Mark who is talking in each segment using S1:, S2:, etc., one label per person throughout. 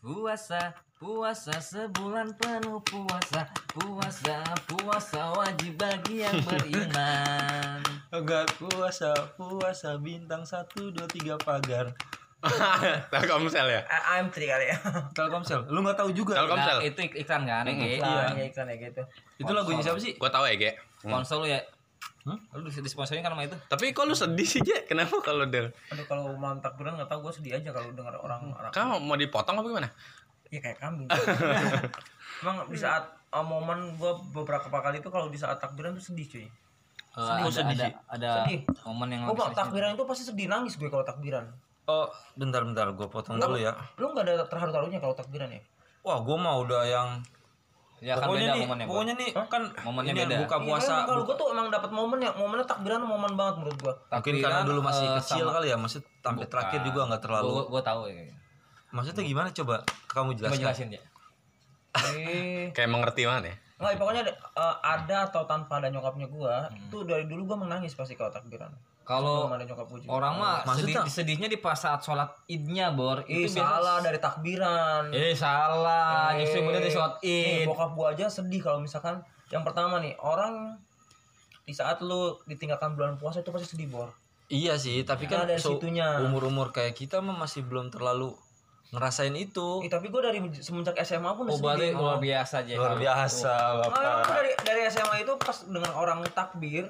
S1: puasa Puasa sebulan penuh puasa Puasa, puasa wajib bagi yang beriman
S2: Agar puasa, puasa bintang 1, 2, 3 pagar
S3: Telkomsel ya.
S4: A- AM3 kali ya.
S2: Telkomsel, lu gak tahu juga
S3: Telkom- Komsel.
S1: Nah, itu ik- iklan kan, Ege?
S4: Iklan, ya iklan ya gitu.
S2: Itu lagunya siapa sih?
S3: Gua tahu ya, Ge.
S1: Sponsor lu ya?
S2: Hah?
S1: Lu dis- disponsorin kan sama itu?
S3: Tapi kok lu sedih sih, Je? Kenapa kalau Del?
S4: Aduh kalau malam takbiran nggak tahu gue sedih aja kalau dengar orang orang.
S3: Kamu mau dipotong apa gimana?
S4: Ya kayak kambing. Emang di saat uh, momen gue beberapa kali itu kalau di saat takbiran tuh sedih
S1: Eh,
S4: cuy.
S1: ada,
S2: sedih Oh,
S1: ada,
S2: sih.
S1: ada
S4: Sedih.
S1: momen yang
S4: Gue
S1: lebih
S4: kalau takbiran itu pasti sedih nangis gue kalau takbiran.
S2: Oh, bentar-bentar, gue potong dulu ya
S4: Lu nggak ada terharu-harunya kalau takbiran ya?
S2: Wah, gue mau udah yang
S1: Ya kan
S2: pokoknya
S1: beda
S2: nih,
S1: momennya.
S2: pokoknya nih kan
S1: Momennya
S2: ini
S1: beda.
S2: buka puasa,
S4: Iya, kalau gue tuh emang dapat momen ya, momennya takbiran momen banget menurut gue.
S2: mungkin karena dulu masih
S1: eh,
S2: kecil kali ya, masih tampil terakhir juga nggak terlalu.
S1: Gue gua tahu ya.
S2: Maksudnya gimana coba kamu
S1: Coba
S2: jelaskan?
S1: jelasin ya.
S4: Eh,
S3: Kayak mengerti banget ya.
S4: Nggak, pokoknya ada, eh, ada atau tanpa ada nyokapnya gue, itu dari dulu gue menangis pasti kalau takbiran.
S1: Kalau
S4: Belum ada nyokap gue juga.
S1: orang mah
S2: Maksudnya-
S1: sedih, sedihnya di pas saat sholat idnya bor.
S4: Ih,
S1: Itu biasa.
S4: salah dari takbiran.
S1: Eh salah,
S4: Eh,
S1: justru bener di sholat
S4: Nih,
S2: Eh,
S1: id.
S4: bokap gua aja sedih kalau misalkan yang pertama nih, orang di saat lu ditinggalkan bulan puasa itu pasti sedih, Bor.
S2: Iya sih, tapi
S4: Ya,
S2: kan
S4: dari
S2: so-
S4: situnya.
S2: umur-umur kayak kita mah masih belum terlalu ngerasain itu.
S4: Eh, tapi gua dari semenjak SMA pun udah
S1: Obatnya
S4: sedih.
S1: Oh, luar biasa aja.
S2: Luar biasa,
S4: Nah,
S2: Bapak.
S4: emang gua dari dari SMA itu pas dengan orang takbir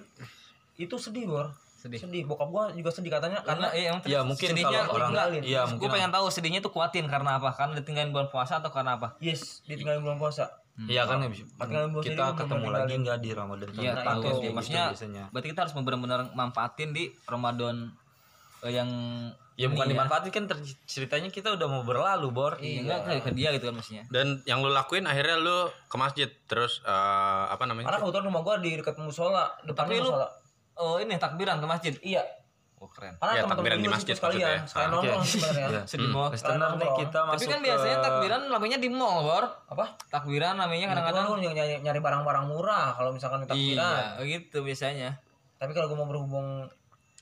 S4: itu sedih, Bor.
S1: Sedih.
S4: Sedih. Bokap gua juga sedih katanya
S1: Karena
S4: karena
S1: eh, emang
S2: Ya, mungkin
S1: sedihnya
S2: kalau orang-
S1: enggak.
S2: iya,
S1: Terus
S2: mungkin
S1: gua pengen tahu sedihnya tuh kuatin karena apa? Karena ditinggalin bulan puasa atau karena apa?
S4: yes, ditinggalin bulan puasa.
S2: Iya kan habis-
S4: Pertengahan bulan
S2: kita
S4: jadi
S2: ketemu
S4: belum
S2: lagi nggak di Ramadan tahun
S1: Iya,
S2: depan
S1: tahu.
S2: kayak gitu
S1: Maksudnya
S2: biasanya.
S1: berarti kita harus benar-benar manfaatin di Ramadan eh, yang
S2: Ya bukan
S1: ini
S2: dimanfaatin kan ter- ceritanya kita udah mau berlalu, Bor.
S1: Iya, enggak ke, ke dia gitu kan maksudnya.
S3: Dan yang lu lakuin akhirnya lu ke masjid terus eh, apa
S4: Karena
S3: namanya?
S4: kebetulan rumah gua di dekat musola,
S1: Tapi
S4: depannya
S1: lu
S4: musola.
S1: oh ini takbiran ke masjid.
S4: Iya.
S1: Oh keren.
S4: Karena
S3: Ya,
S4: teman-teman
S3: takbiran di
S4: gua
S3: masjid
S4: situ sekalian,
S3: maksudnya. Ah,
S4: sekalian
S3: oke.
S4: nongkrong sebenarnya.
S2: Iya.
S1: Sedih banget.
S2: Listener nih
S4: Nongkrong.
S2: kita
S1: Tapi
S2: masuk
S1: kan biasanya
S2: ke-
S1: takbiran namanya di mall, Bor.
S4: Apa?
S1: Takbiran namanya
S4: Kadang-kadang
S1: kadang-kadang
S4: lu ny- nyari, nyari barang-barang murah kalau misalkan takbiran.
S1: Iya, gitu biasanya.
S4: Tapi kalau gue mau berhubung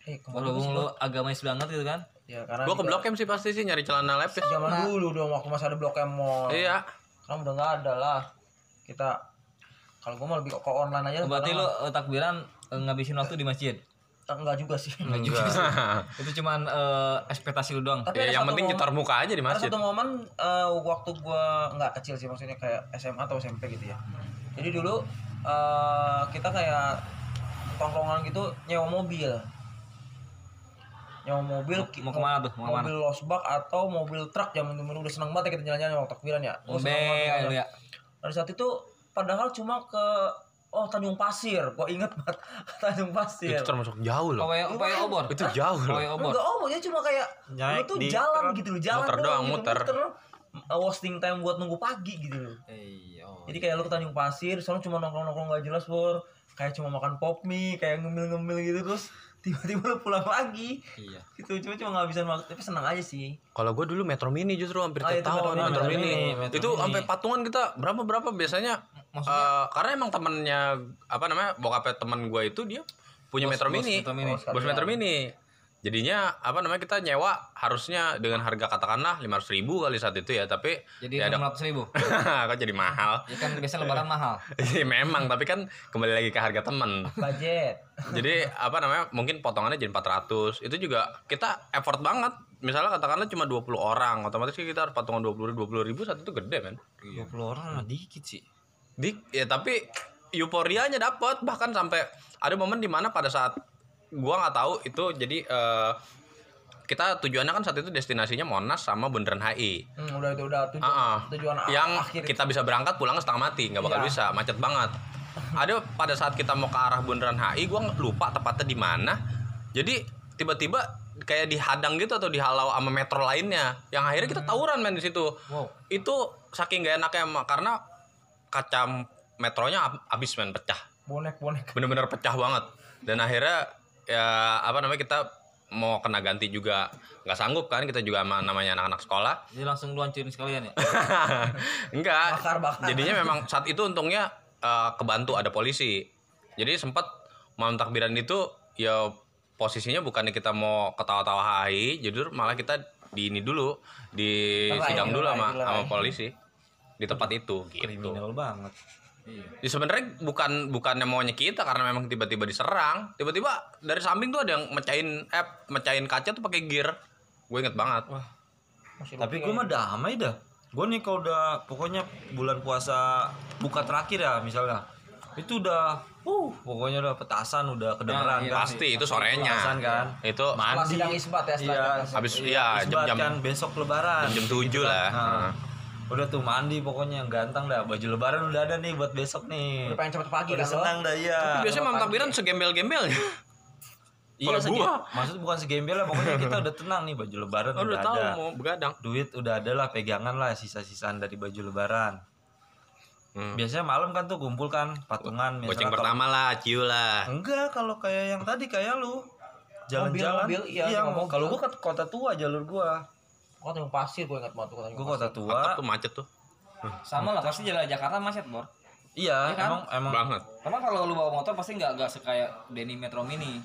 S4: eh kemana
S1: Berhubung
S4: sih?
S1: lu agamis banget gitu kan.
S4: Ya karena
S3: Gua ke
S4: juga
S3: Blok M sih pasti sih nyari celana lepis.
S4: zaman dulu dong waktu masih ada Blok M Mall.
S3: Iya.
S4: Sekarang udah nggak ada lah. Kita kalau gue mau lebih ke, ke online
S3: Oh,
S4: aja.
S1: Berarti lu eh, takbiran eh, ngabisin waktu di masjid.
S4: enggak juga sih.
S2: Iya.
S1: Itu cuman eh, ekspektasi lu doang.
S4: Tapi
S3: Ya, yang
S4: ada satu
S3: penting
S4: momen,
S3: nyetor muka aja di
S4: ada
S3: masjid.
S4: satu momen eh, waktu gue nggak kecil sih maksudnya kayak SMA atau SMP gitu ya. Jadi dulu eh, kita kayak tongkrongan gitu nyewa mobil. Nyewa mobil ki-
S1: Mau kemana tuh? Mau kemana?
S4: mobil losbak atau mobil truk zaman dulu udah seneng banget ya kita jalan-jalan waktu takbiran ya. Oh, seneng banget
S1: Ngombe
S4: jalan-jalan.
S1: lu ya.
S4: Dari saat itu padahal cuma ke oh Tanjung Pasir, gua inget banget Tanjung Pasir.
S3: Itu termasuk jauh loh.
S1: Pawai pawai obor.
S3: Itu jauh loh.
S1: Pawai obor.
S4: Enggak oh, dia cuma kayak
S2: Naik
S4: lu tuh
S2: di
S4: jalan
S2: truk.
S4: gitu loh, jalan
S3: Muter doang,
S4: gitu,
S3: muter.
S4: Uh, wasting time buat nunggu pagi gitu loh.
S1: Iya. oh.
S4: Jadi kayak lu ke Tanjung Pasir, soalnya cuma nongkrong-nongkrong gak jelas, Bor. Kayak cuma makan pop mie, kayak ngemil-ngemil gitu terus tiba-tiba lu pulang lagi.
S1: Iya.
S4: Gitu, cuma cuma ngabisin waktu, tapi seneng aja sih.
S3: Kalau gue dulu Metro Mini justru hampir
S4: Ah,
S3: tiap
S4: itu
S3: tahun
S4: Metro Mini,
S3: Metro,
S4: Metro
S3: Mini.
S2: Mini, Metro
S3: Itu
S2: Mini.
S3: sampai patungan kita berapa berapa biasanya. eh, karena emang temennya apa namanya bokapnya teman gue itu dia punya Metro
S1: bos
S3: Mini,
S1: Metro Mini.
S3: bos, Metro Mini. Jadinya apa namanya kita nyewa harusnya dengan harga katakanlah lima ratus ribu kali saat itu ya tapi
S1: Jadi
S3: ya
S1: enam
S3: ada
S1: ratus ribu.
S3: kok jadi mahal.
S1: Ya kan biasa lebaran mahal.
S3: Iya, memang tapi kan kembali lagi ke harga temen
S4: Budget.
S3: jadi apa namanya mungkin potongannya jadi 400 itu juga kita effort banget misalnya katakanlah cuma 20 orang otomatis kita harus patungan 20 20 ribu saat itu gede kan
S2: 20 orang mah dikit sih.
S3: di ya tapi euforianya dapat bahkan sampai ada momen dimana pada saat gua nggak tahu itu jadi eh, kita tujuannya kan saat itu destinasinya Monas sama Bundaran HI
S4: Hmm, udah itu udah tujuan,
S3: Ah, ah.
S4: tujuan a-
S3: yang
S4: akhir.
S3: kita bisa berangkat pulangnya setengah mati nggak bakal
S4: Iya.
S3: bisa macet banget ada pada saat kita mau ke arah bundaran HI gua lupa tepatnya di mana jadi tiba-tiba kayak dihadang gitu atau dihalau sama metro lainnya yang akhirnya
S4: Hmm.
S3: kita tawuran main di situ
S1: Wow.
S3: itu saking gak enaknya Ma, karena kaca metronya ab- abis main pecah
S4: Bonek bonek.
S3: bener-bener pecah banget dan akhirnya ya apa namanya kita mau kena ganti juga nggak sanggup kan kita juga sama namanya anak-anak sekolah
S1: Jadi langsung lu hancurin sekalian ya.
S3: Enggak.
S4: Bakar, bakar.
S3: Jadinya memang saat itu untungnya eh, kebantu ada polisi. Jadi sempat malam takbiran itu ya posisinya bukannya kita mau ketawa-tawa hai, jujur malah kita di ini dulu di
S4: Lerai,
S3: sidang dulu
S4: lerai,
S3: sama
S4: lerai.
S3: sama polisi di tempat itu gitu.
S2: kriminal banget
S3: Ya sebenarnya bukan bukannya maunya kita karena memang tiba-tiba diserang, tiba-tiba dari samping tuh ada yang mecahin eh mecahin kaca tuh pakai gear. Gue inget banget.
S2: tapi gue mah damai dah gue nih kalau udah pokoknya bulan puasa buka terakhir ya misalnya itu udah uh pokoknya udah petasan udah kedengeran
S1: iya,
S2: kan
S3: Pasti itu sorenya.
S2: petasan kan
S3: Itu
S4: Setelah sidang isbat ya, setelah
S2: iya,
S4: sidang isbat.
S3: habis ya
S2: Isbat
S3: jam-jam
S2: kan besok lebaran
S3: jam 7 lah.
S2: Nah, udah tuh mandi pokoknya yang ganteng dah baju lebaran udah ada nih buat besok nih
S4: Udah pengen cepet pagi
S2: udah
S4: kan lo?
S2: senang dah iya
S3: Tapi biasanya mam takbiran ya? segembel-gembelnya.
S2: iya
S3: kalau
S2: segi-
S3: gua-
S2: maksud bukan segembel lah pokoknya kita udah tenang nih baju lebaran
S3: Oh,
S2: udah
S3: udah tahu
S2: ada
S3: mau begadang.
S2: duit udah ada lah pegangan lah sisa-sisaan dari baju lebaran
S3: Hmm.
S2: biasanya malam kan tuh kumpul kan patungan
S3: Goceng
S2: misalnya kalau-
S3: pertama lah, ciu lah.
S2: enggak kalau kayak yang tadi kayak lu jalan-jalan
S4: Mobil, mobil, iya,
S2: iya
S4: sama
S2: mau-
S4: mobil.
S2: kalau gua ke kota tua jalur gua
S4: Kota Tanjung Pasir gue ingat banget tuh Kota
S2: gua
S4: Tanjung Pasir.
S2: kota
S3: Otak
S2: tua
S3: tuh macet tuh.
S1: sama lah pasti jalan Jakarta macet bor
S2: iya
S1: Iya kan?
S2: emang emang
S3: Banget.
S1: karena kalau lu bawa motor pasti nggak nggak sekaya Denny Metro Mini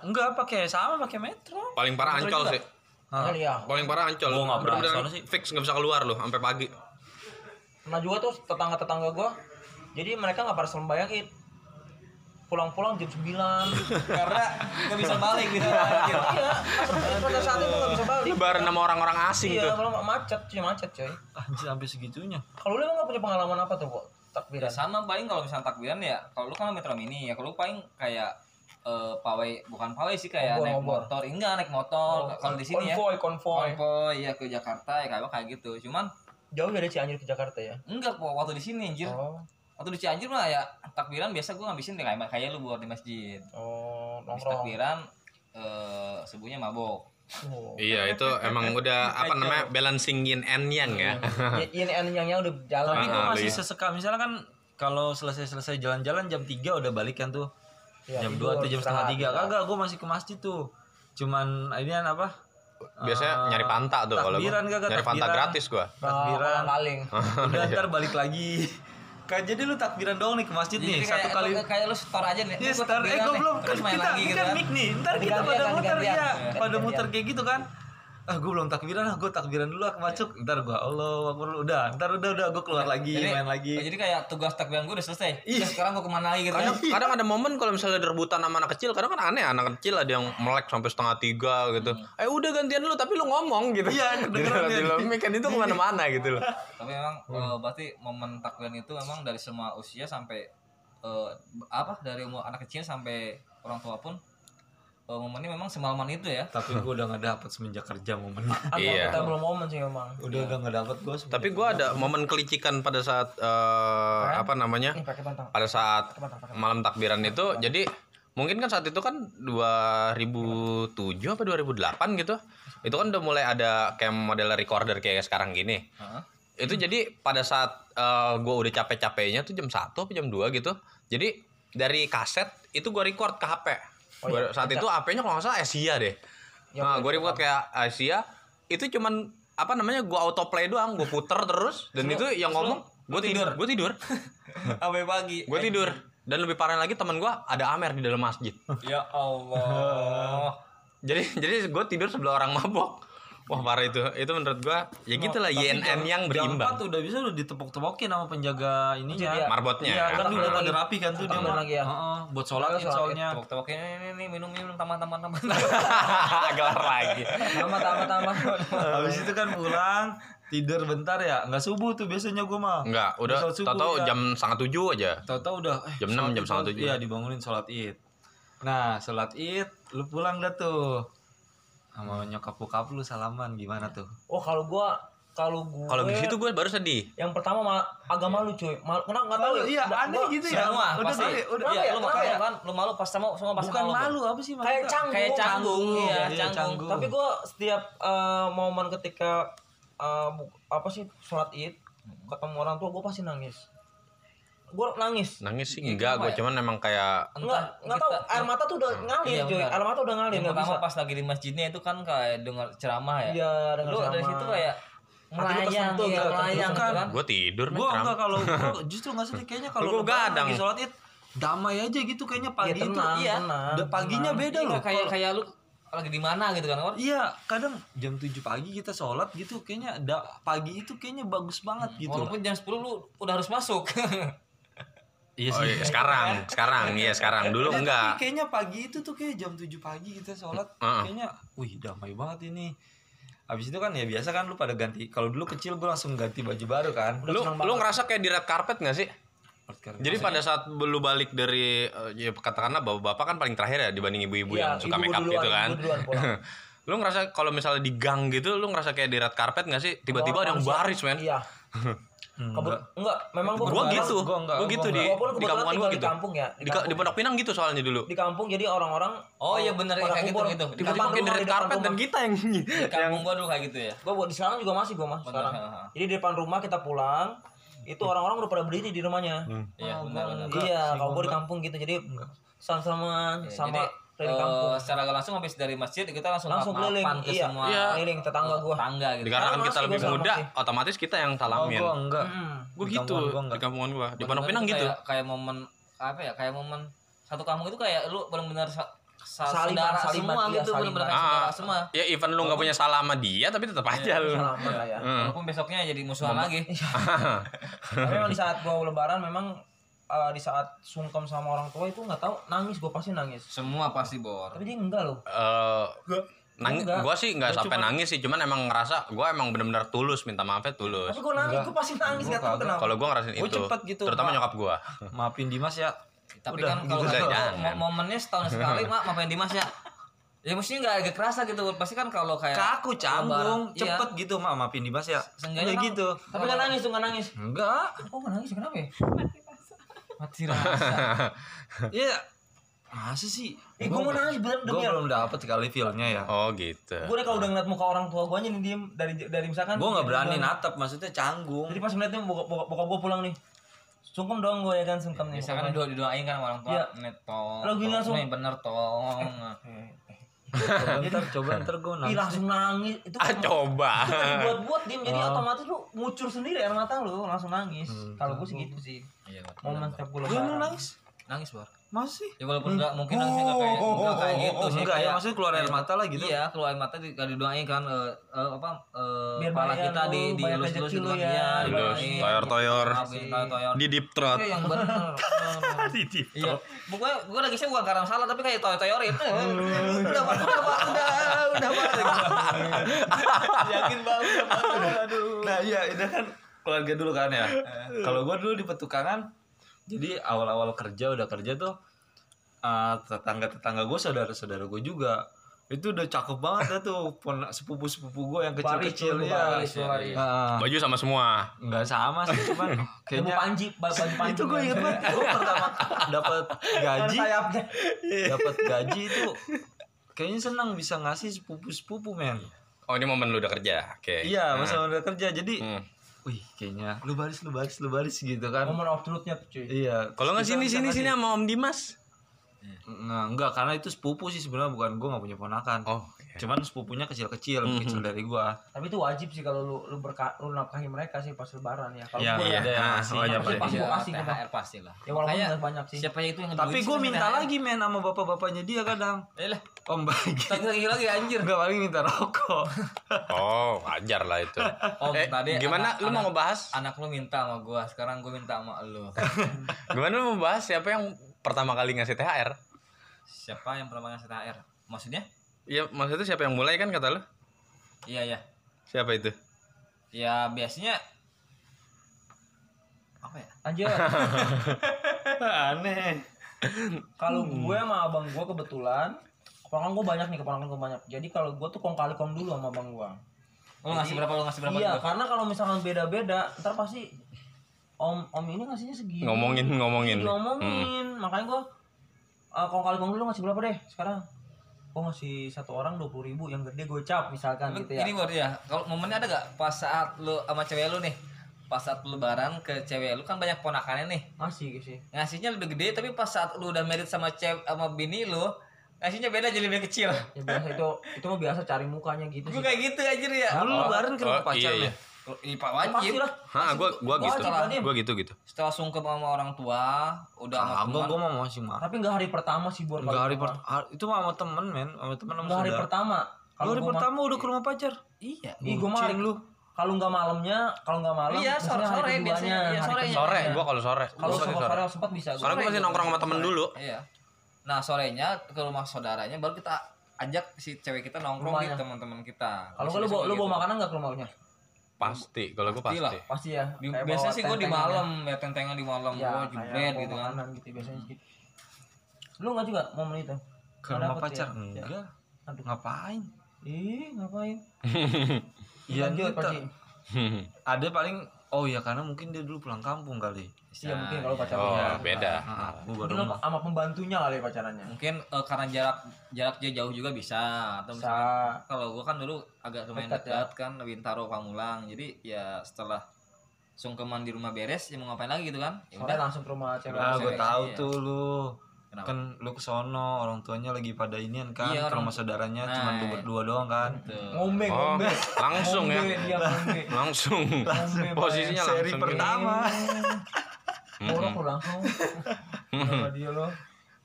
S2: enggak pakai sama pakai metro
S3: Paling parah
S1: Ancol
S3: ancol
S1: juga.
S3: sih.
S2: Hah?
S4: Kali ya.
S3: Paling parah ancol.
S2: Gua nggak pernah
S3: Bener-bener
S2: sono sih.
S3: Fix nggak bisa keluar loh sampai pagi.
S4: Pernah juga tuh tetangga-tetangga gue. Jadi mereka nggak pernah serem bayangin. Pulang-pulang jam 9
S1: karena nggak bisa balik gitu
S4: Iya, pada saat itu nggak bisa balik.
S3: Lebaran sama orang-orang asing
S4: Iya,
S3: tuh.
S4: kalau nggak macet, cuy macet coy.
S2: anjir sampai segitunya
S4: Kalau lu emang nggak punya pengalaman apa tuh kok
S1: ya
S4: takbiran?
S1: sama paling kalau misalnya takbiran ya kalau lu kan Metro Mini ya kalau lu paling kayak eh, pawai bukan pawai sih kayak
S4: Obor,
S1: naik
S4: obor.
S1: motor enggak naik motor kalau di sini ya
S4: konvoy, konvoy.
S1: konvoy ya ke Jakarta ya kayak kayak gitu cuman
S4: Jauh dari Cianjur ke Jakarta ya.
S1: enggak kok waktu di sini anjir
S4: Oh,
S1: waktu di Cianjur mah ya takbiran biasa gue ngabisin kayak kayak lu buat di masjid
S4: oh
S1: Habis
S4: nongkrong.
S1: takbiran eh subuhnya mabok
S4: Oh.
S3: Iya itu emang udah apa namanya balancing yin and yang ya.
S4: Y- Yin and yang udah jalan.
S2: tapi gua
S3: Ah,
S2: masih
S3: iya.
S2: sesekali misalnya kan kalau selesai-selesai jalan-jalan jam 3 udah balik kan tuh
S1: Iya,
S4: Ya,
S2: jam 2
S4: tidur,
S2: atau jam setengah
S4: istirahat,
S2: tiga
S4: istirahat.
S2: kagak gue masih ke masjid tuh cuman ini kan apa
S3: Biasanya
S2: Eh,
S3: nyari panta tuh kalau gua.
S2: takbiran kagak,
S3: Nyari panta
S2: takbiran.
S3: gratis gua.
S1: Oh,
S2: takbiran
S4: Nah, maling.
S3: Ah,
S2: udah
S3: iya.
S2: ntar balik lagi Kak, jadi lu takbiran doang nih ke masjid nih
S1: Jadi
S2: satu
S1: Iya, kayak-
S2: kali
S1: kayak- kayak lu store aja nih
S2: Iya,
S1: gua
S2: ntar eh
S1: takbiran
S2: gue
S1: nih.
S2: belum kan
S1: terus main
S2: kita
S1: lagi
S2: ini
S1: gitu
S2: kan
S1: kan
S2: mic nih ntar kita
S4: Gantian,
S2: pada
S4: gantian,
S2: muter
S4: gantian.
S2: ya
S4: Gantian.
S2: pada muter kayak gitu kan ah gue belum takbiran ah gue takbiran dulu ah kemacuk ntar gue Allah Akbar, udah ntar udah udah gue keluar
S1: Nah,
S2: lagi
S1: jadi,
S2: main
S4: Iya.
S2: lagi
S1: Oh, jadi kayak tugas takbiran gue udah selesai Terus sekarang gue kemana lagi gitu
S2: Iya.
S3: Kadang, kadang ada momen kalau misalnya ada rebutan sama anak kecil, kadang kan aneh anak kecil ada yang melek sampai setengah tiga gitu. Eh udah gantian lu tapi lu ngomong gitu.
S2: Hmm. Iya, kedengeran
S3: Gitu,
S2: ya.
S3: loh. Mic-an itu kemana-mana gitu loh.
S1: tapi emang
S4: Hmm.
S1: eh, berarti momen takbiran itu emang dari semua usia sampai eh, apa dari umur anak kecil sampai orang tua pun eh, momennya memang semalaman itu ya
S2: tapi gue udah gak dapet semenjak kerja momen
S4: Atau
S3: Iya.
S4: kita belum momen sih memang.
S2: udah udah gak dapet gue
S3: Tapi gua ada momen kelicikan pada saat eh, apa namanya?
S4: Nih pakai bantang.
S3: pada saat
S4: Teman, teman,
S3: malam takbiran itu jadi mungkin kan saat itu kan 2007 apa 2008 gitu itu kan udah mulai ada kayak model recorder kayak sekarang gini itu jadi pada saat eh, gua udah capek-capeknya tuh jam 1 apa jam 2 gitu jadi dari kaset itu gua record ke HP
S4: Oh
S3: Gua-
S4: iya,
S3: saat itu HP-nya kalau nggak salah Asia deh
S4: Ya,
S3: nah,
S4: gua
S3: gue record kayak Asia itu cuman apa namanya gua autoplay doang gue puter terus dan itu yang ngomong gue tidur gue tidur
S1: sampai pagi
S3: gue tidur Eh, dan lebih parah lagi teman gue ada Amer di dalam masjid
S1: ya Allah
S3: jadi jadi gue tidur sebelah orang mabok wah parah itu itu menurut gue
S2: Oh,
S3: ya gitulah YNN yang berimbang
S2: udah bisa udah ditepok-tepokin sama penjaga
S4: Jadi,
S2: ininya
S4: ya,
S3: marbotnya
S2: Iya, kan
S4: Tambah
S2: udah
S4: lagi.
S2: pada rapi kan tuh dia
S4: Tambah
S2: mah.
S4: lagi ya.
S2: Heeh, buat sholat
S4: Sholat, sholat.
S2: soalnya.
S1: waktu waktu ini, ini minum minum tambah tambah tambah
S3: gelar lagi
S4: Tambah, tambah, tambah.
S2: Habis itu kan pulang, tidur bentar ya. Nggak subuh tuh biasanya gua mah.
S3: enggak udah
S2: Misal subuh,
S3: tau-tau
S2: ya.
S3: jam setengah tujuh aja
S2: Tahu-tahu udah eh,
S3: Jam enam,
S2: sholat Id,
S3: jam setengah
S2: sholat-
S3: tujuh.
S2: Iya, dibangunin sholat Id. Nah, sholat Id lu pulang dah tuh. Sama nyokap bokap lu salaman gimana tuh?
S4: Oh kalau gua kalau gua
S2: Eh.
S3: kalau di situ gue baru sedih
S4: yang pertama malah agak malu cuy. Malu kenapa enggak tahu
S2: Malu,
S4: ya?
S2: iya,
S4: Gua-
S2: aneh
S4: gua
S2: gitu ya.
S1: semua
S2: Udah
S1: pasti
S2: deh, udah.
S1: Iya, lu
S4: Kenapa ya? Kenapa
S1: makan
S4: ya?
S1: kan lu malu pas sama semua pasti
S2: Bukan malu apa sih
S4: Kayak
S2: maksudnya?
S4: canggung.
S1: kayak canggung iya
S2: Iya,
S1: canggung
S2: canggung.
S4: Tapi gua setiap eh, momen ketika eh, bu- apa sih sholat Id ketemu orang tua gua pasti nangis. Gua nangis.
S3: nangis sih
S1: Iya,
S3: enggak
S1: kenapa
S3: gue
S1: ya?
S3: cuman emang kayak
S4: Enggak, enggak tahu
S1: kita-
S4: air mata tuh udah ngalir
S1: Iya,
S4: cuy.
S1: benar.
S4: Air mata udah ngalir
S1: yang
S4: enggak bisa.
S1: pertama pas lagi di masjidnya itu kan kayak dengar ceramah ya
S4: Iya, dengan
S1: lu dari
S4: sama.
S1: situ kayak
S4: Hati lu
S1: melayang
S4: tersentuh
S1: iya,
S4: gitu.
S1: melayang gitu
S2: Bukan.
S1: kan
S3: gue tidur Oh,
S2: Gua
S3: Metram.
S2: enggak kalau gua justru enggak sedih kayaknya kalau
S3: Gua
S2: lebaran
S3: gadang. ya?
S2: lagi sholat Id damai aja gitu kayaknya pagi
S4: Iya,
S2: itu
S4: tenang,
S2: iya.
S4: tenang,
S2: Da- paginya
S4: tenang.
S2: beda
S1: Iya,
S2: loh.
S1: kayak kayak lu lagi di mana gitu kan Wah,
S2: Iya, kadang jam 7 pagi kita sholat gitu, kayaknya da, pagi itu kayaknya bagus banget gitu.
S1: walaupun jam 10 lu udah harus masuk
S2: Iya
S3: Oh, iya, sekarang, sekarang, iya sekarang. Dulu
S2: Tapi
S3: enggak. Mm,
S2: kayaknya pagi itu tuh kayak jam 7 pagi kita sholat,
S3: Heeh.
S2: kayaknya, wih damai banget ini. Habis itu kan ya biasa kan lu pada ganti. Kalau dulu kecil gue langsung ganti baju baru kan.
S3: Lu lu ngerasa kayak di red carpet gak sih?
S2: Sekarang-
S3: Jadi pada saat lu balik dari eh, ya katakanlah bapak-bapak kan paling terakhir ya dibanding
S4: Iya,
S3: ibu-ibu yang suka make up gitu kan. lu ngerasa kalau misalnya di gang gitu lu ngerasa kayak di red carpet gak sih? Tiba-tiba ada yang baris men.
S4: Iya.
S2: Enggak. Oh,
S4: Kebut- enggak, memang gua
S3: Gua
S4: kebetulan-
S3: gitu.
S2: Gua enggak,
S3: Gua gitu
S2: gua
S3: di di
S4: Gua pun kebetulan
S3: kampungan
S4: tinggal
S3: gua
S4: di
S3: gitu.
S4: kampung ya.
S3: Di ka- di Pondok Pinang gitu soalnya dulu.
S4: di kampung jadi orang-orang
S1: Oh, iya bener,
S4: pada
S1: kayak gitu,
S4: kumpul.
S1: gitu.
S3: Tiba-tiba
S4: Depan
S3: kayak di
S4: rumah,
S3: red
S4: depan
S3: carpet dan
S4: rumah.
S3: kita yang
S1: di kampung gua dulu kayak gitu ya
S4: gua buat di sekarang juga masih gua mah
S1: bener
S4: sekarang jadi di depan rumah kita pulang itu orang-orang udah pada berdiri di rumahnya
S1: iya
S4: Oh,
S1: bener bener
S4: bang,
S2: Enggak
S4: iya
S2: sih,
S4: kalau
S2: gua
S4: gua di
S2: enggak.
S4: kampung gitu jadi sama-sama
S1: Ya,
S4: sama
S1: jadi
S4: dari kampung
S1: eh, secara nggak langsung habis dari masjid kita langsung
S4: langsung
S1: lap-lapan
S4: keliling
S1: ke
S4: iya
S1: semua
S3: Iya.
S4: keliling tetangga gua
S1: tangga gitu
S3: dikarenakan
S4: Sekarang
S3: kita
S4: masih,
S3: lebih
S4: gua sama
S3: muda,
S4: masih.
S3: otomatis kita yang
S2: Oh,
S3: salamin.
S2: gua enggak.
S4: Mm.
S3: Gue
S2: Di
S3: gitu
S2: kampungan gua enggak.
S3: di kampungan gua, di
S1: Bener-bener
S3: Pondok Pinang
S1: itu
S3: gitu.
S1: kayak, kayak momen apa ya kayak momen satu kampung itu kayak lu benar-benar sa- sa-
S4: Saliman,
S1: saudara
S4: saliman,
S1: semua
S4: iya,
S1: gitu benar-benar
S3: saliman.
S1: kayak saudara
S3: Ah.
S1: semua
S3: Ya even lu nggak punya salah sama dia tapi tetap
S4: Iya,
S3: aja lu.
S4: Salaman lah ya
S3: Heeh.
S1: walaupun besoknya jadi musuhan lagi
S4: Iya.
S3: Hmm.
S4: Tapi memang di saat gua lebaran memang eh, di saat sungkem sama orang tua itu nggak tahu nangis gua pasti nangis.
S1: semua pasti bor
S4: Tapi dia enggak loh.
S3: Eh, nang
S4: Enggak.
S3: gua sih nggak sampai nangis sih cuman emang ngerasa gua emang bener-bener tulus minta maafnya tulus
S4: Tapi gua nangis, gua pasti nangis nggak tahu kenapa.
S3: kalau gua
S2: Oh,
S3: ngerasain
S2: iya. Gua
S3: itu
S2: cepet gitu,
S3: terutama
S2: Pak.
S3: nyokap gua
S2: Maafin Dimas ya.
S1: tapi
S2: Udah,
S1: kan kalau
S2: gitu
S1: kata
S3: aja,
S1: gua,
S3: jangan.
S1: mo- momennya setahun sekali mak ngapain Dimas ya ya mestinya nggak agak kerasa gitu pasti kan kalau kayak
S2: Kaku canggung,
S1: Lebaran.
S2: cepet gitu, Ma, maafin Dimas ya.
S1: Iya. Seenggaknya
S2: Kayak
S1: kan-
S2: gitu.
S4: Tapi nggak nangis tuh nggak nangis.
S2: Enggak.
S4: Kok nggak nangis kenapa ya?
S1: mati rasa
S2: Iya. Masa sih?
S4: Eh, gua mau nangis bener
S2: Gue
S4: demi.
S2: belum dapet kali feel-nya ya.
S3: oh gitu
S4: Gue udah kalau udah ngeliat muka orang tua gua aja nih diem dari dari misalkan.
S2: Gue nggak berani
S4: Jadi
S2: natap, maksudnya canggung.
S4: pas ngeliatnya bokap bokap bokap gua pulang nih. Sungkem dong gua ya kan sungkem nih.
S1: misalkan
S4: pokoknya.
S1: doa didoain kan sama orang tua
S4: Iya.
S1: net tong
S4: Lo gini
S1: tong,
S4: langsung.
S1: nih bener tong
S4: Eh, eh.
S2: coba ntar, coba ntar gue
S4: Ih
S2: nangis.
S1: Iya,
S4: langsung nangis itu
S3: ah coba
S4: buat buat diem jadi
S2: Oh.
S4: otomatis lu mucur sendiri air mata lu langsung nangis.
S2: Hmm.
S4: Kalau gua sih gitu sih.
S1: iya Bor.
S4: Momen setiap gua
S2: Gue
S4: lebaran.
S2: nangis.
S1: nangis bor
S2: Masih?
S1: ya walaupun nggak mungkin nangisnya nggak kayak nggak kayak gitu
S2: Oh,
S1: sih
S2: enggak ya,
S1: kayak-
S2: maksudnya keluar air mata lah gitu.
S1: Iya, keluar air mata di- kalau didoain kan eh, eh, apa eh,
S4: Biar
S1: kepala
S4: banyak
S1: kita
S4: lu,
S1: di di
S4: banyak
S1: lulus
S4: rezeki lu
S1: gitu kan.
S4: ya,
S1: Iya,
S3: tulus
S1: didoain. Iya,
S3: toyor toyor
S1: Maafin, toyor, toyor.
S3: di deep throat
S1: Iya, yang benar. Iya. Pokoknya gue lagi sih bukan karena salah tapi kayak toyor toyorin. Eh, Udah, Pak, udah, Pak, udah, udah, Pak.
S2: Yakin banget. Aduh. Nah, iya, itu kan keluarga dulu kan ya. Kalau gue dulu di petukangan, jadi awal-awal kerja udah kerja tuh eh, tetangga-tetangga gue, saudara-saudara gue juga itu udah cakep banget dah tuh pon- sepupu-sepupu gue yang kecil-kecil
S4: Baris,
S2: ya.
S4: baris, baris.
S2: Heeh.
S3: baju sama semua
S2: nggak sama sih cuman
S4: Ibu
S2: kayaknya
S4: Panji, baju Panji.
S2: itu gue inget banget gue pertama dapat gaji
S4: sayapnya.
S2: dapat gaji itu kayaknya senang bisa ngasih sepupu sepupu men
S3: oh ini momen lu udah kerja oke
S2: iya
S3: Nah.
S2: masa udah kerja jadi
S3: Hmm.
S2: wih kayaknya lu baris lu baris lu baris gitu kan
S4: Momen of truth-nya tuh cuy.
S2: iya
S3: kalau nggak
S2: Kita
S3: sini
S2: bisa
S3: sini
S2: ngasih.
S3: sini sama om dimas
S2: Nah, enggak karena itu sepupu sih sebenarnya bukan gue nggak punya ponakan
S3: oh Hmm,
S2: cuman sepupunya kecil kecil lebih kecil dari gue
S4: Tapi itu wajib sih kalau lu lu, berka, lu nafkahi mereka sih pas lebaran ya. Kalau
S2: ya
S4: gua
S2: iya, ada yang
S3: Ah,
S2: ngasih.
S3: wajib,
S2: Tapi-
S4: wajib. Pasti,
S1: Iya,
S4: pasti,
S1: THR pasti lah.
S4: ya walaupun
S1: Makanya
S4: nggak banyak sih.
S1: siapa itu yang
S2: tapi gue minta lagi men sama bapak bapaknya dia kadang
S1: Eh lah,
S2: om bagi
S1: lagi lagi lagi anjir.
S2: Enggak paling minta rokok.
S3: oh wajar lah itu
S1: Om,
S3: eh,
S1: tadi
S3: gimana
S1: anak-
S3: lu mau
S1: anak-
S3: ngebahas
S1: Anak lu minta sama gue, sekarang gue minta sama lu.
S3: gimana lu mau bahas siapa yang pertama kali ngasih thr
S1: Siapa yang pernah ngasih THR? Maksudnya?
S3: Iya, maksudnya siapa yang mulai kan kata lu?
S1: Iya, iya.
S3: Siapa itu?
S1: Ya biasanya apa ya?
S4: Anjir,
S2: Aneh.
S4: kalau gue sama abang gue kebetulan keponakan gue banyak nih, keponakan gue banyak. Jadi kalau gue tuh kong kali kong dulu sama abang gue.
S1: Lu ngasih berapa? Lu ngasih berapa?
S4: Iya,
S1: dulu?
S4: karena kalau misalkan beda-beda, ntar pasti om om ini ngasihnya segini.
S3: Ngomongin ngomongin. Mm.
S4: Diomongin, makanya gue eh kong kali kong dulu ngasih berapa deh sekarang? Gue ngasih satu orang dua puluh ribu, yang gede gue cap misalkan
S1: Lu,
S4: gitu ya.
S1: Ini baru ya. Kalau momennya ada gak pas saat lu sama cewek lu nih? Pas saat lu lebaran ke cewek lu kan banyak ponakannya nih.
S4: Masih gitu sih.
S1: Ngasihnya lebih gede tapi pas saat lu udah married sama cewek sama bini lu, ngasihnya beda jadi lebih kecil.
S4: Ya biasa itu itu mah biasa cari mukanya gitu
S1: Gue
S4: sih.
S1: kayak gitu anjir ya.
S2: Lu lebaran ke rumah
S3: Oh,
S2: Kan pacar lu?
S3: iya, iya.
S1: IPA wajib.
S4: Pasti lah.
S3: Hah, gua gua
S4: Wah,
S3: gitu.
S4: Cipranim.
S3: Gua gitu gitu.
S1: Setelah sungkem sama orang tua, udah sama
S2: Kagak
S1: teman.
S2: gue Ah, mau masih marah.
S4: Tapi nggak hari pertama sih buat
S2: Enggak hari pertama itu mah sama temen men, sama temen sama
S4: Nggak hari
S2: saudara.
S4: pertama.
S2: Lu hari
S4: gua ma-
S2: pertama udah ke rumah pacar.
S1: Iya.
S4: Ih, gua maling lu. Kalau nggak malamnya, kalau nggak malam,
S1: Iya,
S4: biasanya hari
S1: sore-sore
S4: keduanya,
S1: biasanya. Iya,
S4: hari
S1: sorenya.
S3: Sore,
S1: Iya.
S3: gua kalau sore.
S4: kedua. Kalau
S3: Gua pasti
S4: sore
S3: sore.
S4: sore sempat bisa. gua.
S3: Soalnya gua masih nongkrong sama temen dulu.
S1: Iya. Nah, sorenya ke rumah saudaranya baru kita ajak si cewek kita nongkrong di
S4: Rumahnya.
S1: teman-teman kita.
S4: Kalau nggak lu bawa lu
S1: gitu.
S4: bawa makanan nggak ke rumahnya?
S3: Pasti, kalau gua
S1: Pastilah.
S3: pasti.
S4: Pasti ya.
S1: Di,
S4: Kayak
S1: biasanya
S4: bawa
S1: sih gue di
S4: tentengan ya.
S1: malam ya tentengan di malam
S4: Ya,
S1: gua
S4: kayak
S1: jebret
S4: bawa
S1: gitu kan.
S4: makanan gitu biasanya sih. Lu nggak juga momen itu?
S2: Ke rumah
S4: Nggak dapet
S2: pacar.
S4: ya? Ya.
S2: Enggak.
S4: Aduh.
S2: Ngapain?
S4: Ih, ngapain?
S2: Iya,
S4: Lanjut,
S2: kita-
S4: Paci.
S2: Ada paling oh ya karena mungkin dia dulu pulang kampung kali.
S4: Iya, mungkin kalau pacarnya.
S3: oh,
S4: ya.
S3: beda.
S2: Ah, gue
S4: Mungkin
S2: baru
S3: Iya,
S4: lu sama pembantunya kali pacarannya.
S1: Mungkin eh, karena jarak jarak dia jauh juga bisa atau
S4: Bisa.
S1: misalnya kalau gua kan dulu agak lumayan
S4: Dekat
S1: dekat,
S4: ya.
S1: kan Bintaro Pamulang. Jadi ya setelah sungkeman di rumah beres ya mau ngapain lagi gitu kan? Ya
S4: Sore
S1: udah.
S4: langsung ke rumah cewek.
S2: Ah, gue
S1: Cewek,
S2: tahu
S1: iya.
S2: tuh lu.
S1: Kenapa?
S2: Kan lu ke sono, orang tuanya lagi pada inian kan,
S1: Iya,
S2: ke
S1: orang-
S2: rumah saudaranya cuman lu
S1: Nah.
S3: iya.
S2: berdua doang kan.
S1: Tuh.
S4: Ngombe,
S3: Oh,
S4: ngombe.
S3: langsung ya.
S4: Ngombe, dia ngombe.
S3: Langsung.
S4: Langsung.
S3: Posisinya
S2: Seri
S3: langsung. gitu.
S2: pertama.
S4: Borok lu langsung. Sama dia lo.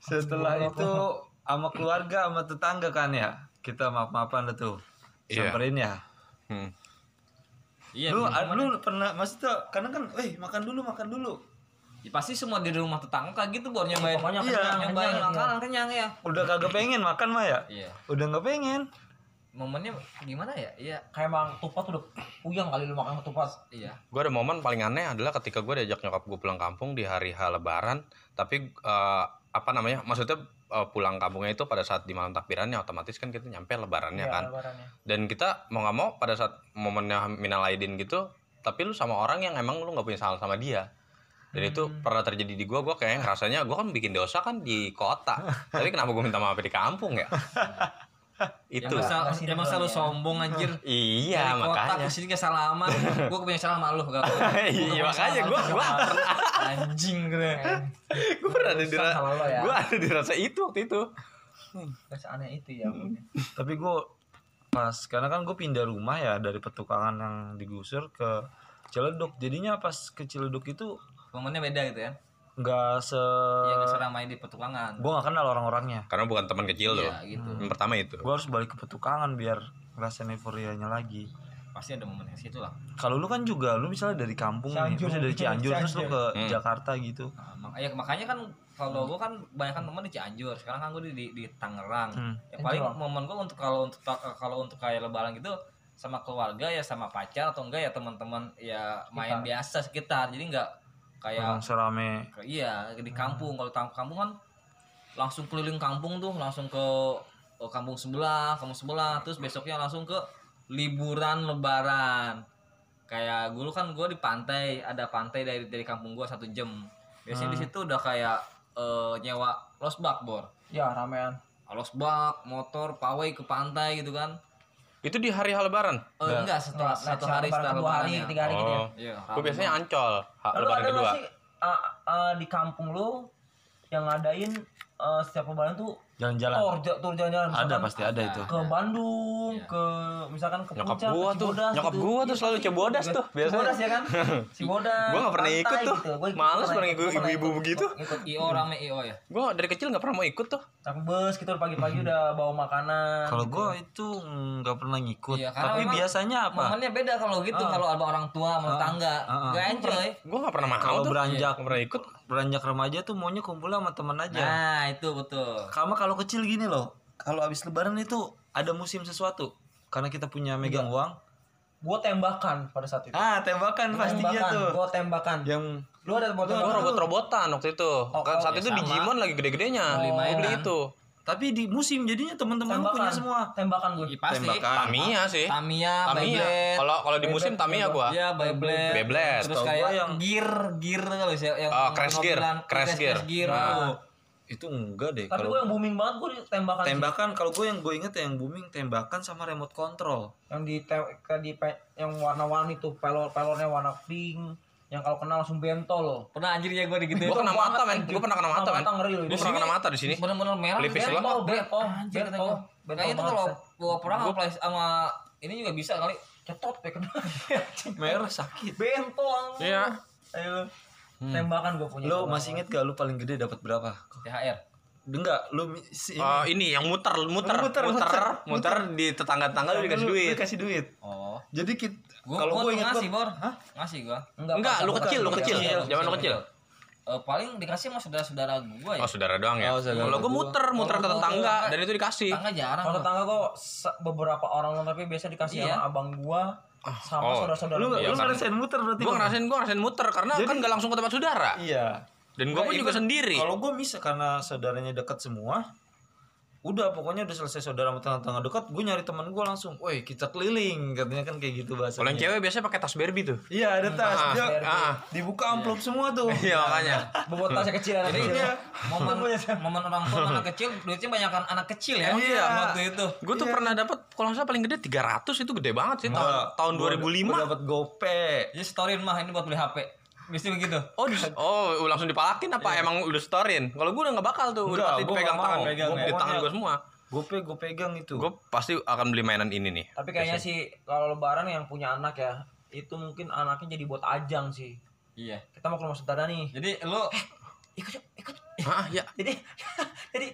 S2: Setelah itu sama keluarga sama tetangga kan ya. Kita maaf-maafan dah tuh.
S3: Iya.
S2: Samperin ya.
S3: Hmm.
S1: Iya.
S2: lu
S1: bener.
S2: ad- lu pernah maksud tuh kadang kan, "Eh, makan dulu, makan dulu."
S1: Ya, pasti semua di rumah tetangga kayak gitu buat nyobain.
S4: Pokoknya
S1: Iya,
S4: kenyang,
S1: nyobain
S4: kenyang,
S1: makanan kenyang ya.
S2: Udah kagak pengen makan mah ya?
S1: Iya.
S2: Udah nggak pengen.
S1: Momennya gimana ya? Iya.
S4: Kayak emang tupat udah puyeng kali lu makan tupat.
S1: Iya.
S3: Gue ada momen paling aneh adalah ketika gue diajak nyokap gue pulang kampung di hari H Lebaran, tapi eh, apa namanya? Maksudnya eh, pulang kampungnya itu pada saat di malam takbirannya otomatis kan kita nyampe Lebarannya kan.
S4: Ya, lebarannya.
S3: Dan kita mau nggak mau pada saat momennya minal aidin gitu, tapi lu sama orang yang emang lu nggak punya salah sama dia. Dan itu
S4: Hmm.
S3: pernah terjadi di gue, gue kayaknya rasanya gue kan bikin dosa kan di kota, tapi kenapa gue minta maaf di kampung ya? itu.
S1: Ya, masa,
S4: Gitu Masih
S1: ya, masa lu
S4: doang ya.
S1: sombong anjir.
S3: Iya
S1: Dari kota
S3: makanya.
S1: ke sini ke salaman. gua punya salah malu gak
S3: Iya makanya gue gue
S1: anjing gitu ya. gue.
S3: gue pernah ada di
S4: Susah sama lo ya.
S3: gue ada di rasa itu waktu itu
S4: Terus aneh itu ya.
S2: Tapi gue pas karena kan gue pindah rumah ya dari petukangan yang digusur ke Ciledug. Jadinya pas ke Ciledug itu
S1: Momennya beda gitu ya.
S2: nggak se
S1: Ya nggak seramai di petualangan.
S2: gue nggak kenal orang-orangnya.
S3: karena bukan teman kecil tuh
S1: Iya gitu.
S3: yang pertama itu
S2: Gue harus balik ke petukangan biar ngerasain euforianya lagi.
S1: Pasti ada momen yang situ lah.
S2: Kalau lu kan juga lu misalnya dari kampung nih,
S4: Cianjur.
S2: misalnya dari Cianjur terus lu ke
S3: Hmm.
S2: Jakarta gitu.
S1: Nah, mak- ya, makanya kan kalau gua kan banyak kan teman di Cianjur. Sekarang kan gua di di, di Tangerang.
S2: Hmm.
S1: Ya, paling
S4: Tangerang.
S1: momen gua untuk kalau untuk ta- kalau untuk kayak lebaran gitu sama keluarga ya sama pacar atau enggak ya teman-teman ya main
S4: Sekitar.
S1: biasa sekitar. Jadi enggak kayak
S2: Orang serame
S1: Ke- Iya di kampung
S4: Hmm.
S1: kalau tam- kampung kan langsung keliling kampung tuh langsung ke ke kampung sebelah kampung sebelah terus besoknya langsung ke liburan lebaran kayak dulu kan gue di pantai ada pantai dari dari kampung gue satu jam biasanya di
S4: Hmm.
S1: situ udah kayak eh, nyewa losbak bor
S4: Ya ramean.
S1: losbak motor pawai ke pantai gitu kan
S3: itu di hari hal lebaran
S1: Eh, enggak setelah
S4: Nah,
S1: satu hari
S4: lebaran
S1: setelah
S4: kedua hari,
S1: lebarannya
S4: tiga hari gitu ya.
S3: oh
S1: Iya,
S3: gue
S1: rame
S3: biasanya
S1: banget.
S3: ancol ha-
S4: Lalu
S3: lebaran
S4: ada
S3: kedua
S4: nggak sih ah, ah, di kampung lu yang ngadain eh, setiap lebaran tuh
S2: jalan-jalan.
S1: Oh,
S4: tour, ja- tour jalan-jalan
S2: ada
S4: misalkan
S2: pasti ada itu.
S4: ke Bandung, ke misalkan ke
S3: Iya. nyokap
S4: Puncak,
S3: gua
S4: ke
S3: tuh
S4: Cibodas
S3: nyokap
S4: gitu.
S3: gua tuh
S4: Iya,
S3: selalu
S4: pasti.
S3: cebodas tuh
S4: Cibodas
S3: biasanya
S4: ya kan? Cibodas.
S3: Gua nggak pernah
S4: pantai
S3: ikut tuh.
S4: gitu. Gua ikut
S3: Males
S4: pernah
S3: pernah
S4: ikut,
S3: ikut
S4: pernah
S3: ibu-ibu
S4: ikut.
S3: begitu.
S1: ikut io rame io ya
S3: gue dari kecil nggak pernah mau ikut tuh
S4: Naik bus gitu pagi-pagi
S3: Hmm.
S4: udah bawa makanan.
S2: Kalau gue itu nggak pernah ngikut.
S1: gitu ya. Iya, karena
S2: Tapi
S1: memang
S2: biasanya apa?
S1: momennya beda kalau gitu kalau sama orang tua sama tetangga
S2: ah, ah.
S1: nggak enjoy
S3: gue nggak pernah mau
S2: Kalau
S3: tuh
S2: beranjak
S3: nggak pernah ikut
S2: beranjak remaja tuh maunya kumpul sama teman aja.
S1: nah itu betul
S2: Karena kalau kecil gini loh, kalau abis lebaran itu ada musim sesuatu. Karena kita punya megang uang.
S4: Gua tembakan pada saat itu.
S2: Ah, tembakan pastinya
S4: tembakan,
S2: tuh.
S4: gua tembakan.
S2: Yang
S4: Lu ada buat
S3: gue
S4: tembakan?
S3: robot-robotan waktu itu kan saat itu Digimon lagi gede-gedenya
S1: Beli
S3: Gua beli
S1: mainan.
S3: itu
S2: tapi di musim jadinya teman-teman lu
S4: Tembakan.
S2: punya semua.
S4: Tembakan gua.
S3: Iya,
S1: Ih, pasti
S2: Tembakan.
S3: Tamiya sih
S1: Tamiya
S3: Tamiya
S1: Beyblade
S3: kalau kalau di musim
S4: Beyblade,
S3: Tamiya gue
S1: ya Beyblade
S3: Beyblade.
S1: terus
S2: Setahu
S1: kayak
S2: gua yang-
S1: gear gear kalau sih yang
S3: Oh, Crash Gear.
S1: mobilan.
S3: Crash Gear.
S1: tuh.
S2: Itu enggak deh.
S4: Tapi
S2: Kalau
S4: gua yang booming banget gua di tembakan. sih.
S2: tembakan, kalau gue yang gue inget yang booming tembakan sama remote control.
S4: yang di te- ke di pe- yang warna-warni tuh pelor pelornya warna pink yang kalau kenal langsung bentol loh
S1: pernah anjir ya gue digituin
S3: gue kena mata men gue pernah kena mata men
S4: Ah, Mata ngeri loh
S3: gue pernah kena mata di sini
S1: bener-bener merah
S3: Pelipis
S1: bet,
S4: doang.
S1: bet,
S4: Oh,
S1: anjir
S4: bet,
S1: kata gua.
S4: oh, bet,
S1: kayaknya
S4: oh,
S1: itu kalau
S4: banget.
S1: bawa perang sama play- sama ini juga bisa kali
S4: cetot ya kena anjing.
S2: Merah sakit.
S4: bento anjing.
S3: Iya.
S4: ayo Iya, tembakan gue punya
S2: Lu masih inget gak lu paling gede dapat berapa?
S1: THR
S2: Enggak, lu mi- si
S3: Oh, ini yang muter,
S2: Muter,
S3: muter, muter, muter,
S2: muter.
S3: di tetangga-tetangga lu dikasih
S2: Lu- lu
S3: duit.
S2: Dikasih duit.
S1: oh
S2: Jadi kit
S1: gua
S2: kalau
S1: gua
S2: gua
S1: tuh
S2: ingat
S1: ngasih
S2: gua-
S1: bor
S2: Hah?
S1: ngasih gua
S3: Enggak, lu kecil, lu kecil.
S1: Kecil,
S3: Zaman lu kecil.
S1: Eh, paling dikasih sama saudara-saudara gua ya
S3: Oh, saudara doang ya.
S2: Oh, saudara
S3: Kalau gua
S2: gua.
S3: muter, muter ke
S1: Kalau gua
S3: tetangga
S1: enggak.
S3: dan itu dikasih.
S1: Tangga jarang
S4: Kalau
S1: gua.
S4: tetangga gue beberapa orang doang, tapi biasa dikasih
S1: Iya.
S4: sama abang gua sama
S3: oh.
S4: saudara-saudara
S2: Lu
S4: gua.
S2: lu
S3: Iya, kan.
S2: ngerasain muter berarti.
S3: Gua
S2: Bang?
S3: ngerasain gua ngerasain muter karena
S2: Jadi-
S3: kan gak langsung ke tempat saudara.
S2: Iya.
S3: Dan gua pun juga
S2: ikut-
S3: sendiri.
S2: Kalau gua bisa karena saudaranya dekat semua. Udah pokoknya udah selesai saudara sama tetangga dekat, gua nyari teman gua langsung, "Woi, kita keliling." Katanya kan kayak gitu bahasanya.
S3: Kalau yang cewek biasanya pakai tas Barbie tuh.
S2: Iya, ada tas.
S3: Ah,
S2: Dia-
S3: ah.
S2: dibuka amplop semua tuh.
S3: Iya, makanya.
S1: hmm.
S4: Bobot tasnya kecil anak kecil.
S2: Iya.
S1: ya. momen momen orang tua anak kecil duitnya banyakkan anak kecil ya
S2: Iya.
S1: waktu itu
S3: Gua tuh pernah dapat kalau nggak salah paling gede 300 itu gede banget sih tahun
S2: Enggak,
S3: tahun
S2: gua- Gua
S3: 2005.
S2: dapat gope.
S1: jadi storyin Iya, mah ini buat beli HP mesti begitu
S3: Oh, dis- oh, langsung dipalakin apa emang lu storein? Kalau gua udah nggak bakal tuh,
S2: Iya. Enggak,
S3: udah pasti
S2: gua
S3: pegang
S2: nggak
S3: tangan,
S2: mau. Pegang,
S3: di
S2: ya.
S3: tangan gua semua.
S2: Gope gue pegang itu.
S3: Gua pasti akan beli mainan ini nih.
S4: Tapi kayaknya sih kalau lebaran yang punya anak ya, itu mungkin anaknya jadi buat ajang sih.
S1: iya
S4: Kita mau ke rumah saudara nih.
S1: jadi lu
S4: Ikut yuk, ikut.
S3: Hah, ya.
S4: Jadi jadi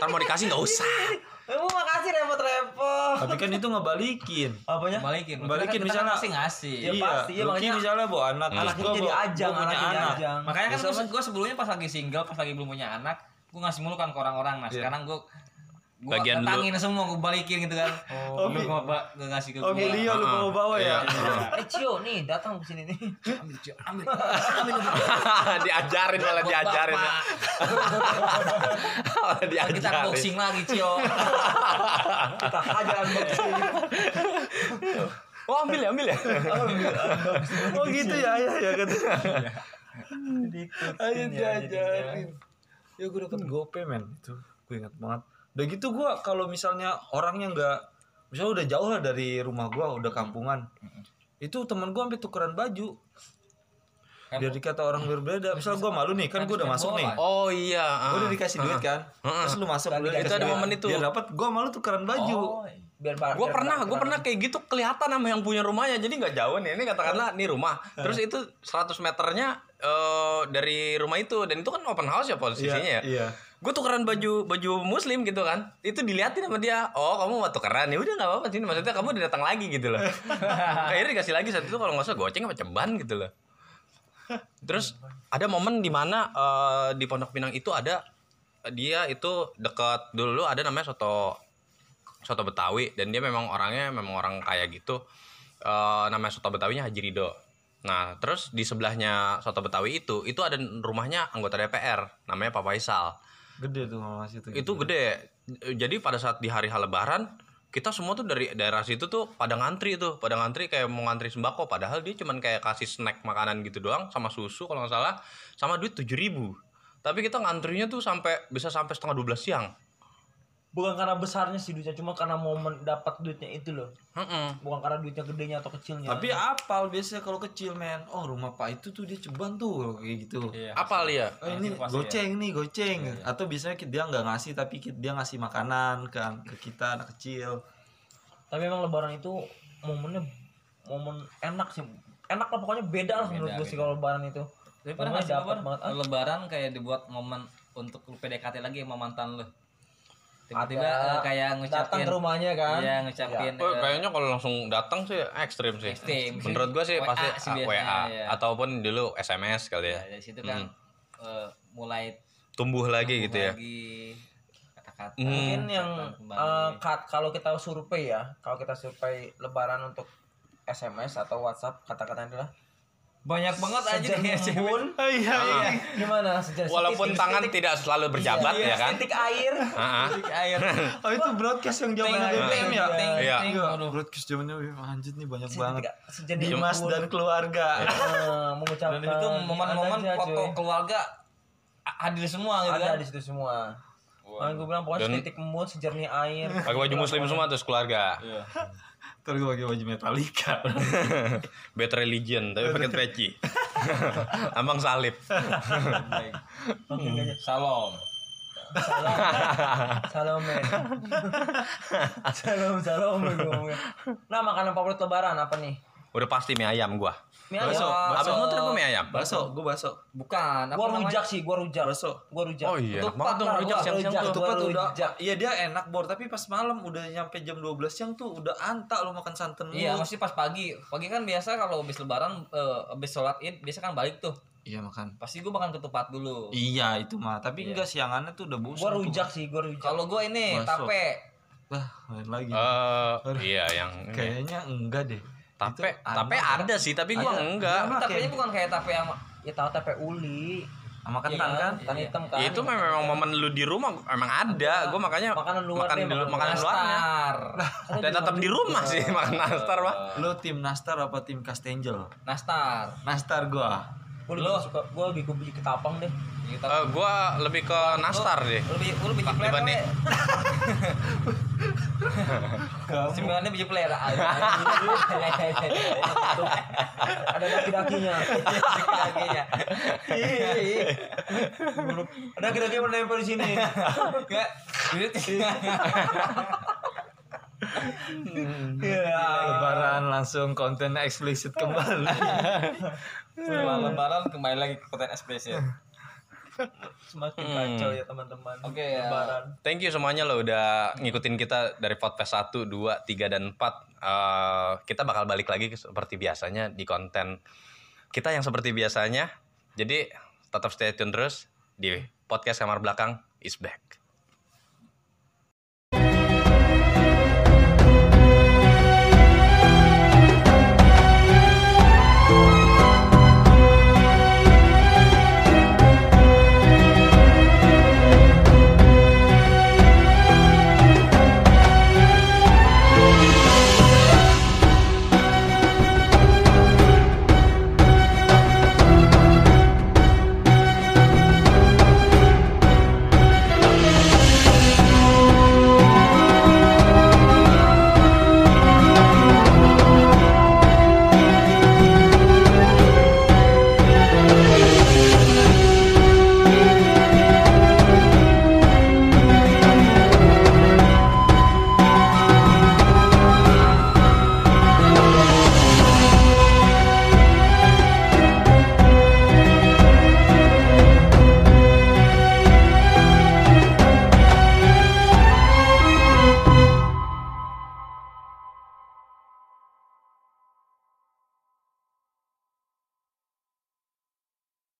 S3: Ntar mau dikasih nggak usah.
S4: Ibu makasih repot-repot.
S2: Tapi kan itu ngebalikin.
S4: Apanya?
S1: balikin
S2: Balikin,
S1: Kita kan
S2: misalnya.
S1: masih ngasih
S4: Iya, pasti, iya,
S2: Lucky
S4: makanya-
S2: misalnya bawa anak, terus
S4: Anaknya
S2: gua
S4: jadi
S2: bawa-
S4: ajang,
S2: gua punya
S4: anaknya jadi ajang.
S1: makanya kan gue sebelumnya pas lagi single pas lagi belum punya anak gue ngasih mulu kan ke orang-orang nah sekarang gue gue
S3: Bagian lu.
S1: datangin semua gue balikin gitu kan oh, iya. lu
S2: Obi-
S1: gua ba- gua Nah, ngasih ke gue
S2: Oh, Leo
S3: Ah,
S2: lu bawa bawa ya.
S3: Iya.
S4: Eh Cio nih datang ke sini nih.
S1: ambil Jo, ambil ambil
S3: diajarin malah
S1: Buat
S3: diajarin.
S1: bapak.
S3: Malah
S1: Ntar kita
S3: diajarin.
S1: unboxing lagi Cio
S4: Kita hajar unboxing.
S3: Oh, ambil ya, ambil ya.
S2: Oh gitu ya, ya ya kata.
S3: Iya.
S2: Ayo
S4: Diikutin ya, jadinya.
S2: diajarin. Ya gue dapet
S3: Hmm.
S2: gope men itu. Gue ingat banget. Udah gitu gue kalau misalnya orangnya nggak misalnya udah jauh lah dari rumah gue udah kampungan.
S3: Hmm.
S2: Itu teman gue sampai tukeran baju.
S3: Kan
S2: Biar dikata orang berbeda. Misal gue malu nih, kan gue udah masuk nih.
S3: Oh iya. ah.
S2: Gue udah dikasih duit kan. Terus lu masuk lu
S3: Itu
S2: dikasih
S3: ada
S2: duit.
S3: momen itu. Oh,
S2: Biar dapat gue malu tukeran baju.
S4: Biar bar-
S3: Gue
S4: biar
S3: pernah,
S4: bar-
S3: gue pernah kayak gitu kelihatan sama yang punya rumahnya, jadi nggak jauh nih. Ini katakanlah nih rumah, terus itu 100 meternya eh, dari rumah itu, dan itu kan open house ya posisinya. ya.
S2: Iya.
S3: Gue tukeran baju baju muslim gitu kan, itu diliatin sama dia. Oh kamu mau tukeran ya udah nggak apa-apa sini, maksudnya kamu udah datang lagi gitu loh. Akhirnya dikasih lagi satu itu kalau nggak salah goceng apa ceban gitu loh. Terus ada momen di mana eh, di Pondok Pinang itu ada dia itu dekat dulu ada namanya soto soto Betawi dan dia memang orangnya memang orang kaya gitu. Eh, namanya soto Betawinya Haji Ridho. Nah, terus di sebelahnya soto Betawi itu itu ada rumahnya anggota DPR namanya Pak Faisal
S2: Gede tuh kalau masih itu.
S3: itu gede jadi pada saat di hari hal lebaran kita semua tuh dari daerah situ tuh pada ngantri tuh pada ngantri kayak mau ngantri sembako padahal dia cuman kayak kasih snack makanan gitu doang sama susu kalau nggak salah sama duit tujuh ribu tapi kita ngantrinya tuh sampai bisa sampai setengah 12 siang
S4: bukan karena besarnya sih duitnya, cuma karena momen dapat duitnya itu loh.
S3: Mm-mm.
S4: Bukan karena duitnya gedenya atau kecilnya.
S2: Tapi apal biasanya kalau kecil men. Oh rumah pak itu tuh dia ceban tuh kayak gitu.
S1: Iya.
S3: apa ya
S2: Oh, ini goceng nih goceng. Atau biasanya kit- dia nggak ngasih tapi kit- dia ngasih makanan kan ke kita anak kecil.
S4: tapi emang lebaran itu momennya momen enak sih enak lah pokoknya beda lah menurut gue sih kalau lebaran itu
S1: Tapi pernah
S4: Pokoknya
S1: nggak sih
S4: dapat
S1: lebaran?
S4: banget ah.
S1: Lebaran kayak dibuat momen untuk lu PDKT lagi sama mantan lu. Tiba-tiba
S4: Ada.
S1: eh, kayak
S4: datang
S1: ngucapin
S4: ke rumahnya kan
S1: Iya, ngucapin
S3: Oh,
S1: eh,
S3: kayaknya kalau langsung datang sih ekstrim sih.
S1: Ekstrim.
S3: Menurut gua sih
S1: WA
S3: pasti
S1: sih
S3: ah,
S1: biasanya,
S3: WA
S1: ya.
S3: ataupun dulu SMS kali
S1: ya,
S3: ya.
S1: dari situ kan eh, mulai
S3: Tumbuh lagi gitu ya. Hmm.
S1: lagi kata-kata.
S4: mungkin yang
S1: Hmm, kembali.
S4: eh, ka- kalau kita survei ya kalau kita survei lebaran untuk SMS atau WhatsApp kata-kata adalah
S1: banyak banget aja deh
S4: sejenis
S1: cewek.
S4: embun
S3: Ah,
S4: gimana sejenis
S3: Walaupun
S4: titik-
S3: tangan
S4: titik-
S3: tidak selalu berjabat
S4: iya,
S3: ya kan.
S4: titik air
S3: Ah, ah.
S1: Titik air.
S2: Oh itu broadcast yang
S1: Ting,
S2: zamannya
S1: ting,
S2: BBM ya?
S1: ting,
S3: Iya.
S1: ting.
S2: Enggak,
S1: Aduh.
S2: broadcast zamannya BBM anjir nih banyak banget.
S4: Sejenis- sejenis
S2: Dimas
S4: embun.
S2: dan keluarga.
S4: Eh, mengucapkan
S1: Dan itu momen-momen
S4: Ada aja,
S1: foto
S4: cuy.
S1: keluarga a- hadir semua gitu
S4: ada
S1: kan.
S4: di situ semua. Makanya gue bilang pokoknya
S3: Dan-
S4: titik embun sejernih air.
S3: Pakai baju muslim semua terus keluarga.
S2: Terus gue pakai baju Metallica.
S3: Bad religion tapi pakai peci. Ambang salib.
S1: Salom.
S4: Salam. salam, men. salam, salam, men, gua ngomongnya. Nah, makanan favorit lebaran apa nih?
S3: Udah pasti mie ayam gua.
S1: Ya,
S4: Mie
S2: Bakso,
S4: ayam.
S3: Abang lu terima mie ayam?
S2: Baso, gue baso.
S1: Bukan. apa
S4: Gua
S1: namanya?
S4: rujak sih, gua rujak.
S2: Bakso.
S4: Gua rujak.
S3: Oh iya, enak banget
S1: Ketupat
S3: tuh
S1: lah,
S3: rujak
S1: gua
S3: siang-siang
S4: rujak.
S3: tuh.
S2: Ketupat
S4: baru
S2: udah
S4: rujak.
S2: Iya dia enak bor Tapi pas malam udah nyampe jam 12 siang tuh Udah anta lo makan santan mulu.
S1: Iya, masih pas pagi. Pagi kan biasa kalau habis lebaran eh, habis sholat Id biasa kan balik tuh.
S2: Iya makan
S1: Pasti gue makan ketupat dulu.
S3: gitu.
S2: Iya itu mah Tapi enggak siangannya tuh udah bosan
S4: Gua
S2: tuh.
S4: rujak sih, gua rujak.
S1: Kalau gue ini
S2: Masuk.
S1: tape.
S2: Lah lain lagi
S3: Eh, iya yang ini.
S2: Kayaknya enggak deh
S3: Tape,
S2: Itu
S3: tape ada sih, tapi
S2: Ada.
S3: gua
S2: Iya,
S3: enggak.
S2: Ada.
S1: Tapenya bukan
S4: Kan
S1: kayak tape yang
S4: ya tahu tape uli,
S2: Sama
S3: Iya,
S2: kentan kan
S4: tan hitam kan.
S3: Ya, itu memang momen lu di rumah emang ada. Gua makanya
S4: Makanan luar
S3: makan
S4: deh,
S3: di,
S4: makanan
S2: ya.
S3: makanan luarnya.
S1: nastar.
S4: Ada
S3: Dan tetap di rumah sih makan nastar, Pak.
S2: Lo tim Nastar apa tim Castenjel?
S1: Nastar.
S2: Nastar gua
S4: Gua lebih suka gua lebih gua beli ketapang deh.
S1: Gitu.
S3: Eh, gua lebih ke nastar deh.
S1: Lu biji, lu biji
S3: Pak,
S1: player.
S3: dibanding-
S1: kan, Le?
S2: Kamu
S1: Sembilannya biji player. Ah,
S4: Ada daki-dakinya. Iya,
S1: Daki-dakinya.
S4: Ada daki-daki yang menempel di sini. Iya.
S1: Enggak. Duit.
S3: Iya.
S2: Lebaran langsung konten eksplisit kembali
S1: Setelah lebaran kembali lagi ke konten SPS ya.
S4: Semakin
S3: Hmm.
S4: kacau ya teman-teman.
S1: Oke, ya.
S4: Lebaran.
S3: Thank you semuanya lo udah ngikutin kita dari podcast 1, 2, 3, dan 4. Eh, kita bakal balik lagi seperti biasanya di konten kita yang seperti biasanya. Jadi tetap stay tune terus di podcast Kamar Belakang is back.